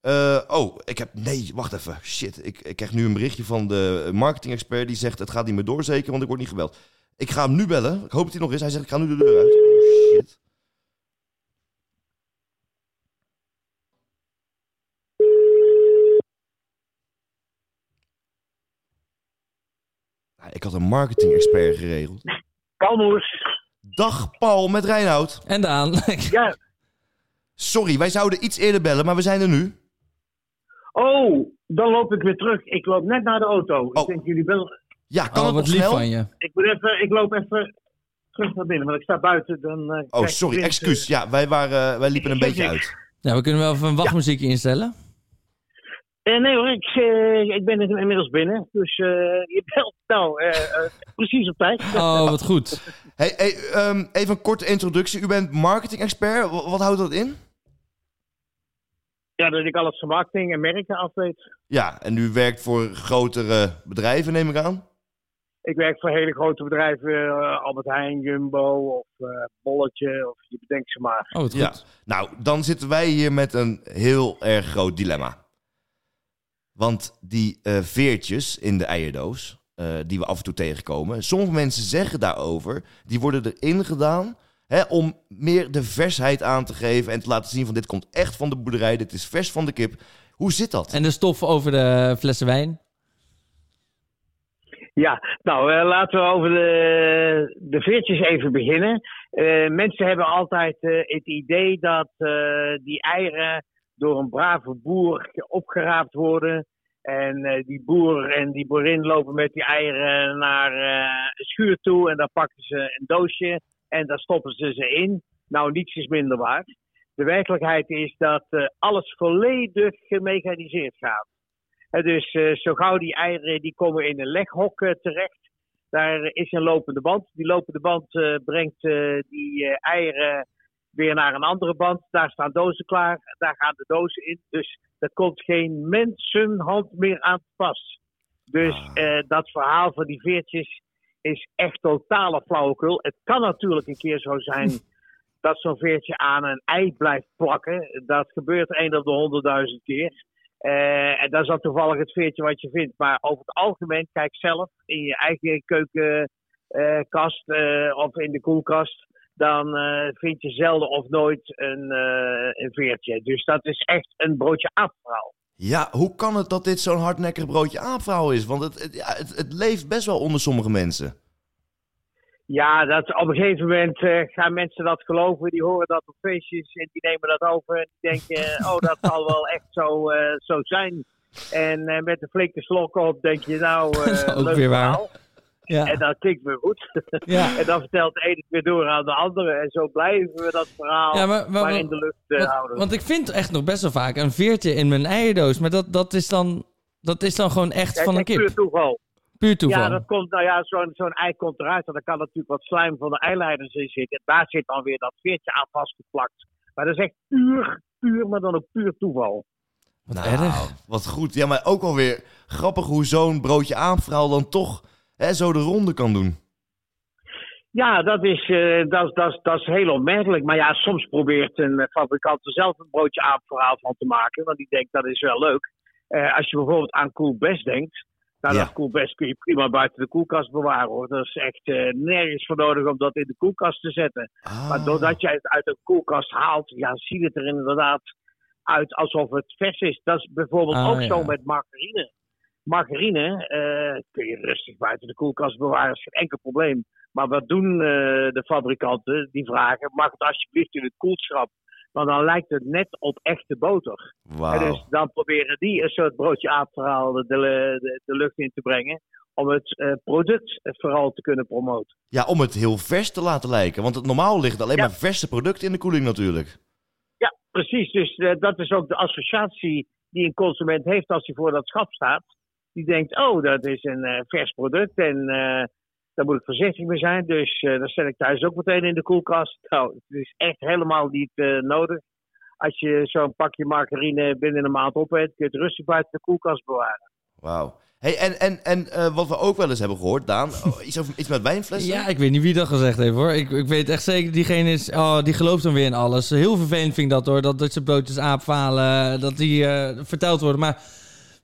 eh, oh, ik heb... Nee, wacht even. Shit, ik, ik krijg nu een berichtje van de marketing-expert. Die zegt, het gaat niet meer door zeker, want ik word niet gebeld. Ik ga hem nu bellen. Ik hoop dat hij nog is. Hij zegt, ik ga nu de deur uit. Oh, shit. Nou, Ik had een marketing-expert geregeld.
Kalmoers.
Dag Paul met Reinoud.
En Daan.
Ja.
Sorry, wij zouden iets eerder bellen, maar we zijn er nu.
Oh, dan loop ik weer terug. Ik loop net naar de auto. Ik denk jullie bellen.
Oh. Ja,
kan Oh, het wat nog lief snel? van je.
Ik, moet even, ik loop even terug naar binnen, want ik sta buiten. Dan, eh,
Oh,
kijk ik
sorry,
binnen.
excuus. Ja, wij, waren, eh, wij liepen een beetje uit.
Nou, we kunnen wel even een wachtmuziekje instellen.
Eh, nee hoor, ik, eh, ik ben in- inmiddels binnen. Dus eh, je belt nou eh, eh, precies op tijd.
Oh, wat goed.
Hey, hey, ehm, even een korte introductie. U bent marketing-expert. Wa- Wat houdt dat in?
Ja, dat ik alles van marketing en merken af weet.
Ja, en u werkt voor grotere bedrijven, neem ik aan.
Ik werk voor hele grote bedrijven, eh, Albert Heijn, Jumbo of eh, Bolletje. Of je bedenkt ze maar.
Oh,
Ja. Nou, dan zitten wij hier met een heel erg groot dilemma. Want die eh, veertjes in de eierdoos, eh, die we af en toe tegenkomen... sommige mensen zeggen daarover, die worden erin gedaan... Hè, om meer de versheid aan te geven en te laten zien van... dit komt echt van de boerderij, dit is vers van de kip. Hoe zit dat?
En de stof over de flessen wijn.
Ja, nou eh, laten we over de, de veertjes even beginnen. Eh, mensen hebben altijd eh, het idee dat eh, die eieren door een brave boer opgeraapt worden. En eh, die boer en die boerin lopen met die eieren naar eh een schuur toe en daar pakken ze een doosje en daar stoppen ze ze in. Nou, niets is minder waar. De werkelijkheid is dat eh, alles volledig gemechaniseerd gaat. Hè, dus eh, zo gauw die eieren die komen in een leghok eh, terecht, daar is een lopende band. Die lopende band eh, brengt eh, die eh, eieren weer naar een andere band. Daar staan dozen klaar, daar gaan de dozen in. Dus daar komt geen mensenhand meer aan te pas. Dus eh, dat verhaal van die veertjes is echt totale flauwekul. Het kan natuurlijk een keer zo zijn dat zo'n veertje aan een ei blijft plakken. Dat gebeurt één op de honderdduizend keer. Eh, en dat is dan toevallig het veertje wat je vindt. Maar over het algemeen, kijk zelf in je eigen keukenkast of in de koelkast. Dan eh, vind je zelden of nooit een, eh, een veertje. Dus dat is echt een broodje afverhaal.
Ja, hoe kan het dat dit zo'n hardnekkig broodje aapvrouw is? Want het, het, ja, het, het leeft best wel onder sommige mensen.
Ja, dat, op een gegeven moment eh, gaan mensen dat geloven. Die horen dat op feestjes en die nemen dat over. En die denken, eh, oh, dat zal wel echt zo, eh, zo zijn. En eh, met een flinke slok op denk je, nou, eh,
is ook
leuk
weer waar.
verhaal.
Ja.
En dat klinkt weer goed. en dan vertelt de ene het weer door aan de andere. En zo blijven we dat verhaal
Ja,
maar,
maar- maar-
in de lucht eh, houden.
Want, want ik vind echt nog best wel vaak een veertje in mijn eierdoos. Maar dat, dat, is, dan, dat is dan gewoon echt
Kijk,
van een
kijk, Puur
kip.
toeval.
Puur toeval.
Ja, dat komt, nou ja, zo'n zo'n ei komt eruit. En dan kan natuurlijk wat slijm van de eileiders in zitten. En daar zit dan weer dat veertje aan vastgeplakt. Maar dat is echt puur, puur, maar dan ook puur toeval.
nou, Wat goed. Ja, maar ook wel weer grappig hoe zo'n broodje aapvrouw dan toch hè, zo de ronde kan doen.
Ja, dat is, eh, dat, dat, dat is heel opmerkelijk. Maar ja, soms probeert een eh, fabrikant er zelf een broodje aapverhaal van te maken. Want die denkt, dat is wel leuk. Eh, als je bijvoorbeeld aan Cool Best denkt. Nou, dat Cool Best kun je prima buiten de koelkast bewaren. Hoor. Dat is echt eh, nergens voor nodig om dat in de
Ah,
koelkast te zetten. Maar doordat jij het uit de koelkast haalt, ja, ziet het er inderdaad
uit alsof het vers is. Dat is bijvoorbeeld
Ah,
ook
ja.
zo met margarine. Margarine eh, kun je rustig buiten de koelkast bewaren, is geen enkel probleem. Maar wat doen eh, de fabrikanten? Die vragen, mag het alsjeblieft in het koelschap? Want dan lijkt het net op echte boter.
Wauw.
En dus dan proberen die een soort broodje aapverhaal de, de, de, de lucht in te brengen. Om het eh, product vooral te kunnen promoten.
Ja, om het heel vers te laten lijken. Want het normaal ligt alleen maar verse producten in de koeling natuurlijk.
Ja, precies. Dus eh, dat is ook de associatie die een consument heeft als hij voor dat schap staat. Die denkt, oh, dat is een eh, vers product en eh, daar moet ik voorzichtig mee zijn. Dus eh dat zet ik thuis ook meteen in de koelkast. Nou, het is echt helemaal niet eh, nodig. Als je zo'n pakje margarine binnen een maand op hebt, kun je het rustig buiten de koelkast bewaren.
Wauw. Hey, en en, en eh, wat we ook wel eens hebben gehoord, Daan, oh, iets, over, iets met wijnflessen.
Ja, ik weet niet wie dat gezegd heeft hoor. Ik, ik weet echt zeker, diegene is, oh, die gelooft dan weer in alles. Heel vervelend vind ik dat hoor, dat Dutch broodjes aapfalen, dat die eh, verteld worden. Maar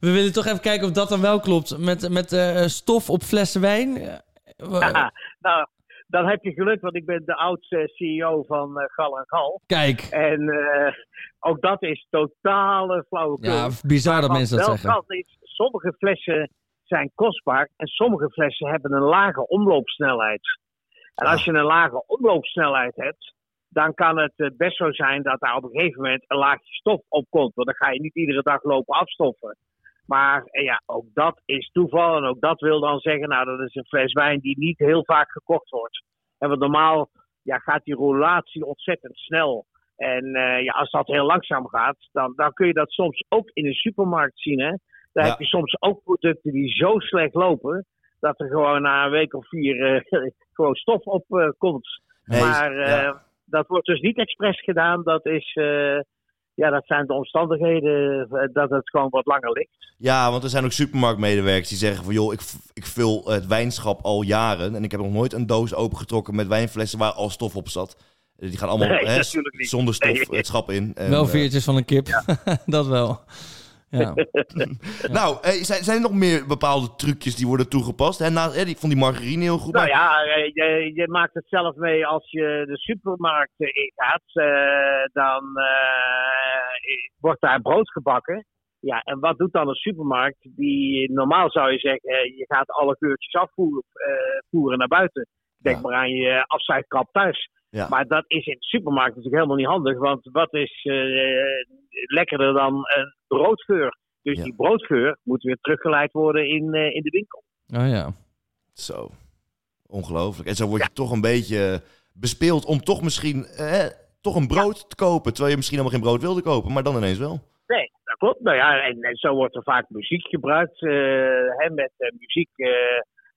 we willen toch even kijken of dat dan wel klopt. Met, met eh, stof op flessen wijn. Eh, wa-
Haha, nou, dan heb je geluk, want ik ben de oudste CEO van eh, Gal en Gal.
Kijk.
En eh, ook dat is totale flauwekul.
Ja, bizar dat
Maar
mensen
wat
dat
wel
zeggen.
geldt is, sommige flessen zijn kostbaar en sommige flessen hebben een lage omloopsnelheid. En als je een lage omloopsnelheid hebt, dan kan het eh, best zo zijn dat daar op een gegeven moment een laagje stof op komt. Want dan ga je niet iedere dag lopen afstoffen. Maar eh, ja, ook dat is toeval. En ook dat wil dan zeggen, nou, dat is een fles wijn die niet heel vaak gekocht wordt. En want normaal ja, gaat die roulatie ontzettend snel. En eh, ja, als dat heel langzaam gaat, dan, dan kun je dat soms ook in de supermarkt zien. Hè? Daar heb je soms ook producten die zo slecht lopen, dat er gewoon na een week of vier eh, gewoon stof op eh, komt.
Nee,
maar eh,
ja.
dat wordt dus niet expres gedaan. Dat, is, eh, ja, dat zijn de omstandigheden eh, dat het gewoon wat langer ligt.
Ja, want er zijn ook supermarktmedewerkers die zeggen van... joh, ik, v- ik vul het wijnschap al jaren... en ik heb nog nooit een doos opengetrokken met wijnflessen waar al stof op zat. Eh, Die gaan allemaal
Nee,
hè,
natuurlijk niet.
zonder stof
Nee.
het schap in. En,
wel
eh,
veertjes van een kip, dat wel. Ja.
Nou, eh, zijn, zijn er nog meer bepaalde trucjes die worden toegepast? Hè, na, hè, die, ik vond die margarine heel goed.
Nou
maar-
ja, eh, je, je maakt het zelf mee als je de supermarkt eh, ingaat. eh, dan eh, wordt daar brood gebakken. Ja, en wat doet dan een supermarkt? Die, normaal zou je zeggen, eh, je gaat alle geurtjes afvoeren eh, voeren naar buiten. Denk maar aan je afzuigkap thuis.
Ja.
Maar dat is in de supermarkt natuurlijk helemaal niet handig. Want wat is eh, lekkerder dan een broodgeur? Dus die broodgeur moet weer teruggeleid worden in, eh, in de winkel.
Oh ja.
Zo. Ongelooflijk. En zo word je toch een beetje bespeeld om toch misschien eh, toch een brood te kopen. Terwijl je misschien helemaal geen brood wilde kopen, maar dan ineens wel.
Nee, dat klopt. Nou ja, en, en zo wordt er vaak muziek gebruikt. eh, hè, met eh, muziek eh,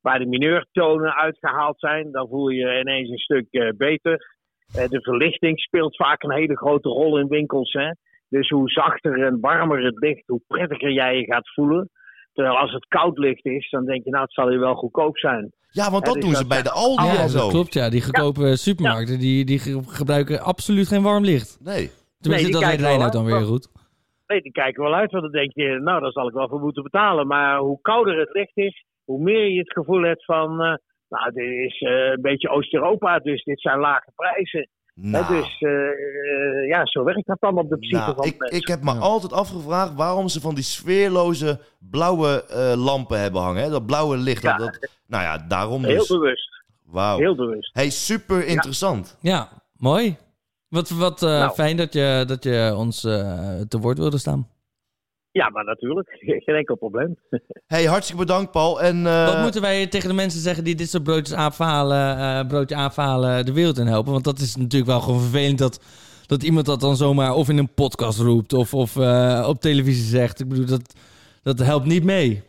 waar de mineurtonen uitgehaald zijn. Dan voel je ineens een stuk eh, beter. Eh, de verlichting speelt vaak een hele grote rol in winkels. Hè? Dus hoe zachter en warmer het ligt, hoe prettiger jij je gaat voelen. Terwijl als het koud licht is, dan denk je, nou, het zal hier wel goedkoop zijn.
Ja, want dat
dus
doen ze bij de Aldi
Ah, ja,
en
dat
zo.
klopt ja. Die goedkope supermarkten, die, die ge- gebruiken absoluut geen warm licht.
Nee.
Tenminste,
die
dat weet
kijken wel
Reinoud dan
uit,
weer
want-
goed.
Nee, die kijken wel uit, want dan denk je, nou, daar zal ik wel voor moeten betalen. Maar hoe kouder het licht is, hoe meer je het gevoel hebt van, eh, nou, dit is eh, een beetje Oost-Europa, dus dit zijn lage prijzen. Hè,
Nou.
dus eh, eh, ja, zo werkt dat dan op de psyche
Nou,
van
ik,
mensen.
ik heb me altijd afgevraagd waarom ze van die sfeerloze blauwe eh, lampen hebben hangen. Hè? Dat blauwe licht.
Ja.
Dat, dat- nou ja, daarom
Heel
dus.
bewust.
Wauw.
Heel bewust.
Hey, super interessant.
Ja, mooi. Wat, wat eh,
Nou.
fijn dat je, dat je ons eh, te woord wilde staan.
Ja, maar natuurlijk. Geen enkel probleem.
Hey, hartstikke bedankt Paul. En, eh,
Wat moeten wij tegen de mensen zeggen die dit soort broodjes aanvalen, eh broodje aanvalen de wereld in helpen? Want dat is natuurlijk wel gewoon vervelend dat, dat iemand dat dan zomaar of in een podcast roept of, of eh, op televisie zegt. Ik bedoel, dat, dat helpt niet mee.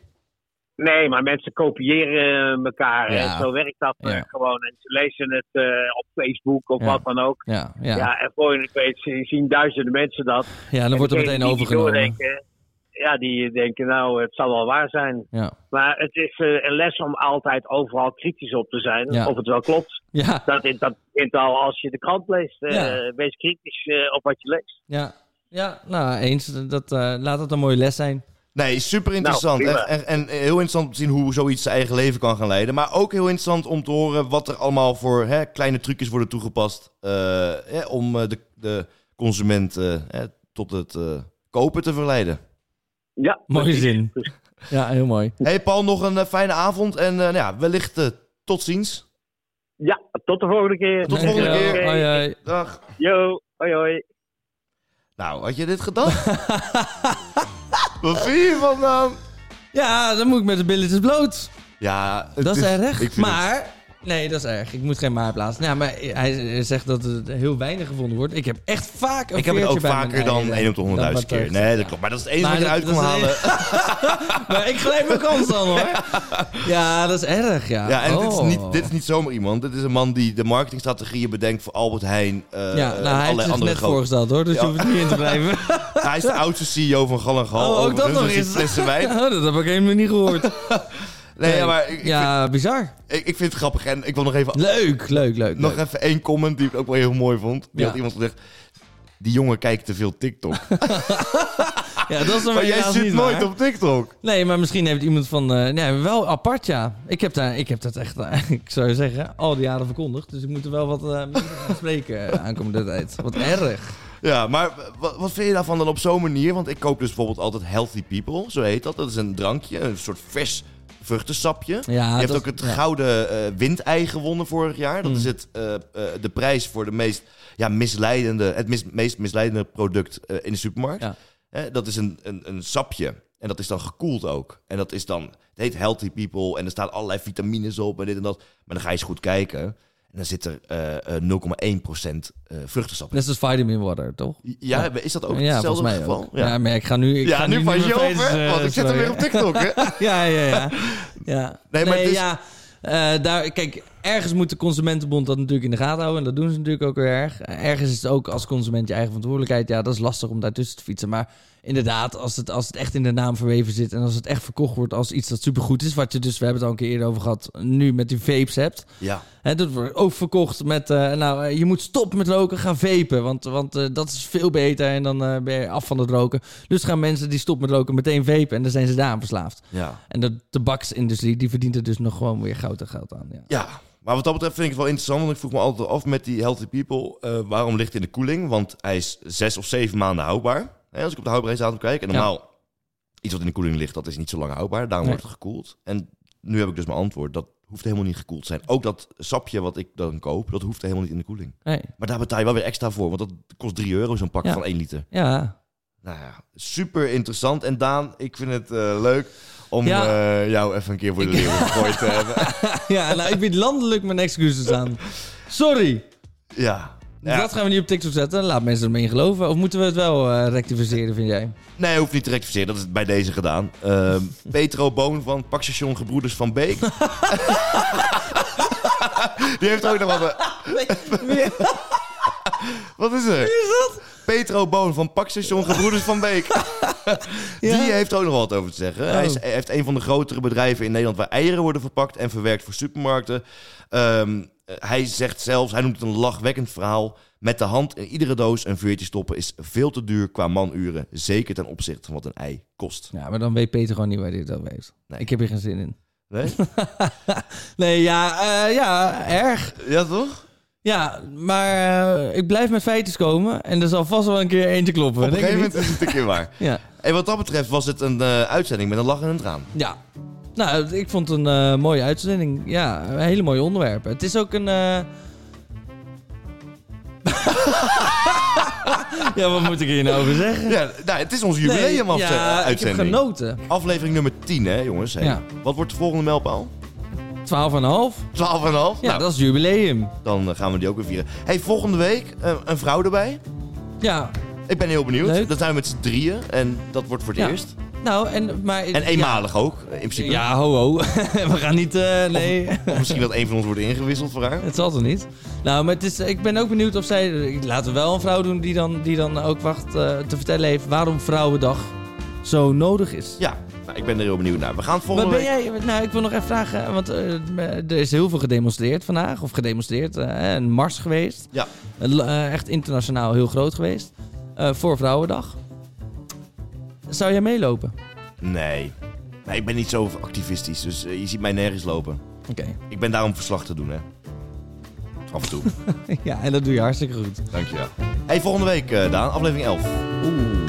Nee, maar mensen kopiëren eh, elkaar. hè.
Ja.
Zo werkt dat eh, gewoon. En ze lezen het eh, op Facebook of
Ja.
wat dan ook.
Ja, ja.
en voor je het weet zien duizenden mensen dat.
Ja, dan
En
wordt
degenen
er meteen
die niet
overgenomen.
doordenken, Ja, die denken, nou, het zal wel waar zijn.
Ja.
Maar het is eh, een les om altijd overal kritisch op te zijn.
Ja.
Of het wel klopt.
Ja.
Dat, in- dat begint al als je de krant leest. eh,
Ja.
Wees kritisch eh, op wat je leest.
Ja, ja nou eens. Dat, eh, laat dat een mooie les zijn.
Nee, super interessant.
Nou,
en,
prima.
en, en heel interessant om te zien hoe zoiets zijn eigen leven kan gaan leiden. Maar ook heel interessant om te horen wat er allemaal voor hè, kleine trucjes worden toegepast. eh, hè, om eh, de, de consument eh, hè, tot het eh, kopen te verleiden.
Ja,
Mooie zin. Ja, heel mooi.
Hey Paul, nog een eh, fijne avond en eh, nou ja, wellicht eh, tot ziens.
Ja, tot de volgende keer.
Tot de volgende
Dankjewel.
keer.
Hoi, hoi.
Dag.
Yo, hoi hoi.
Nou, had je dit gedacht? Wat vind je van dan?
Ja, dan moet ik met de billetjes bloot.
Ja, het
Dat is
ik vind
erg. Maar... Nee, dat is erg. Ik moet geen maar plaatsen. Ja, maar hij zegt dat het heel weinig gevonden wordt. Ik heb echt vaak een
Ik heb het
veertje
ook
bij mijn
vaker dan
eieren.
1 op
Dan
de 100.000
wat
keer.
echt.
Nee, dat klopt. Maar dat is het enige
Maar
wat ik
dat-
eruit kon
dat is
halen.
Maar ik grijp mijn kans dan hoor. Ja, dat is erg, ja.
Ja, en dit, is
Oh.
niet, dit is niet zomaar iemand. Dit is een man die de marketingstrategieën bedenkt voor Albert Heijn. eh,
ja, nou,
en
hij heeft
allerlei
zich
andere
net
grote-
voorgesteld hoor, dus
Ja.
je hoeft het niet in te blijven.
Hij is de oudste CEO van Gal en Gal.
Oh, ook dat
overigens,
nog
dus die
eens.
flessen wijn.
Oh, dat heb ik helemaal niet gehoord.
Nee,
Nee.
ja, maar ik, ik
ja, bizar.
vind, ik, ik vind het grappig. En ik wil nog even,
Leuk, leuk, leuk.
nog
leuk.
even één comment die ik ook wel heel mooi vond. Die
Ja.
had iemand gezegd... Die jongen kijkt te veel TikTok.
Ja, dat is dan
maar
weer
jij
helaas
zit
niet
nooit
waar.
op TikTok.
Nee, maar misschien heeft iemand van... eh, nee, wel apart, ja. Ik heb, daar, ik heb dat echt, eh, ik zou je zeggen, al die jaren verkondigd. Dus ik moet er wel wat eh, meer gaan spreken eh, aankomende tijd. Wat erg.
Ja, maar wat, wat vind je daarvan dan op zo'n manier? Want ik koop dus bijvoorbeeld altijd Healthy People, zo heet dat. Dat is een drankje, een soort vers vruchtensapje.
Ja,
je hebt
dat-
ook het
ja. Mm.
gouden eh windei gewonnen vorig jaar. Dat is het, eh, eh, de prijs voor de meest, ja, misleidende, het mis- meest misleidende product eh, in de supermarkt.
Ja.
Hè, dat is een, een, een sapje. En dat is dan gekoeld ook. En dat is dan, het heet Healthy People. En er staan allerlei vitamines op en dit en dat. Maar dan ga je eens goed kijken. En dan zit er eh, eh, 0,1% eh vruchtensap in.
Net als vitamin water, toch?
Ja, is dat ook
ja, volgens
hetzelfde
mij
geval?
ook. Ja. maar ik ga nu... Ik
Ja,
ga
nu
niet
pas
meer
je
mijn
over,
feestjes, eh,
want ik zit er weer op TikTok, hè?
ja, ja, ja. ja.
Nee, maar dus- het is-
ja. eh, daar, kijk, ergens moet de Consumentenbond dat natuurlijk in de gaten houden. En dat doen ze natuurlijk ook weer erg. Eh, Ergens is het ook als consument je eigen verantwoordelijkheid. Ja, dat is lastig om daartussen te fietsen. Maar inderdaad, als het, als het echt in de naam verweven zit... en als het echt verkocht wordt als iets dat supergoed is... wat je dus, we hebben het al een keer eerder over gehad... nu met die vapes hebt...
Ja.
Hè, dat wordt ook verkocht met, eh, nou, eh, je moet stoppen met roken, gaan vapen. Want, want eh, dat is veel beter en dan eh, ben je af van het roken. Dus gaan mensen die stoppen met roken meteen vapen en dan zijn ze daaraan verslaafd.
Ja.
En de tabaksindustrie, die verdient er dus nog gewoon weer goud en geld aan. Ja.
Ja, maar wat dat betreft vind ik het wel interessant. Want ik vroeg me altijd af met die Healthy People. eh, waarom ligt hij in de koeling? Want hij is zes of zeven maanden houdbaar. Hè, als ik op de houdbaarheidsdatum kijk. En normaal, iets wat in de koeling ligt, dat is niet zo lang houdbaar. Daarom
Nee.
wordt het gekoeld. En nu heb ik dus mijn antwoord. Dat hoeft helemaal niet gekoeld te zijn. Ook dat sapje wat ik dan koop, dat hoeft helemaal niet in de koeling.
Nee.
Maar daar betaal je wel weer extra voor. Want dat kost 3 euro zo'n pak
Ja.
van 1 liter.
Ja.
Nou ja, super interessant. En Daan, ik vind het eh, leuk om
Ja.
eh, jou even een keer voor de leeuw gegooid te hebben.
ja, nou, ik bied landelijk mijn excuses aan. Sorry,
Ja. Ja.
dat gaan we niet op TikTok zetten. Laat mensen ermee geloven. Of moeten we het wel eh, rectificeren, vind jij?
Nee, hoeft niet te rectificeren. Dat is bij deze gedaan. Ehm, Petro Boon van Pakstation Gebroeders van Beek. Die heeft ook nog wat...
Wie
Wat is er?
is dat?
Petro Boon van Pakstation Gebroeders van Beek. Die heeft ook nog wat over te zeggen. Hij,
Oh.
is- hij heeft een van de grotere bedrijven in Nederland... waar eieren worden verpakt en verwerkt voor supermarkten. Ehm, hij zegt zelfs, hij noemt het een lachwekkend verhaal... met de hand in iedere doos een vuurtje stoppen... is veel te duur qua manuren. Zeker ten opzichte van wat een ei kost.
Ja, maar dan weet Peter gewoon niet waar hij het over heeft.
Nee.
Ik heb hier geen zin in.
Nee?
Nee, ja, eh, ja, erg.
Ja, toch?
Ja, maar eh, ik blijf met feitjes komen en er zal vast wel een keer eentje kloppen.
Op een
denk je
gegeven moment
niet?
is het een keer waar.
Ja.
En wat dat betreft was het een eh, uitzending met een lach en een traan.
ja. Nou, ik vond het een eh, mooie uitzending. Ja, een hele mooie onderwerpen. Het is ook een... eh, ja, wat moet ik hier nou over zeggen?
Ja, nou, het is onze
Nee,
jubileum
ja, ik heb
uitzending.
genoten. 12,5.
Aflevering nummer 10, hè, jongens. Hey.
Ja.
Wat wordt de volgende mijlpaal? 12,5?
Ja,
nou,
dat is jubileum.
dan eh, gaan we die ook weer vieren. Hey, volgende week eh, een vrouw erbij.
Ja,
Ik ben heel benieuwd.
Leuk.
Dat zijn we met z'n drieën en dat wordt voor het
Ja.
eerst.
nou, en... Maar,
En eenmalig ook, eh, in
Ja,
principe.
ja ho, ho. We gaan niet... eh, nee.
Of misschien dat een van ons wordt ingewisseld voor haar.
Het zal toch niet? Nou, maar het is, ik ben ook benieuwd of zij... eh, Laten we wel een vrouw doen die dan, die dan ook wacht eh, te vertellen heeft... waarom Vrouwendag zo nodig is.
Ja, nou, ik ben er heel benieuwd naar. We gaan het
Maar
volgende
ben
week...
jij... Nou, ik wil nog even vragen... Want eh, er is heel veel gedemonstreerd vandaag. Of gedemonstreerd. eh, een mars geweest.
Ja.
Een la- eh, echt internationaal heel groot geweest. eh, voor Vrouwendag. Zou jij meelopen?
Nee. nee, ik ben niet zo activistisch, dus eh, je ziet mij nergens lopen.
Oké.
Ik ben daar om verslag te doen, hè. Af en toe.
ja, en dat doe je hartstikke goed.
Dankjewel. Hey, volgende week, eh, Daan. Aflevering 11. Oeh.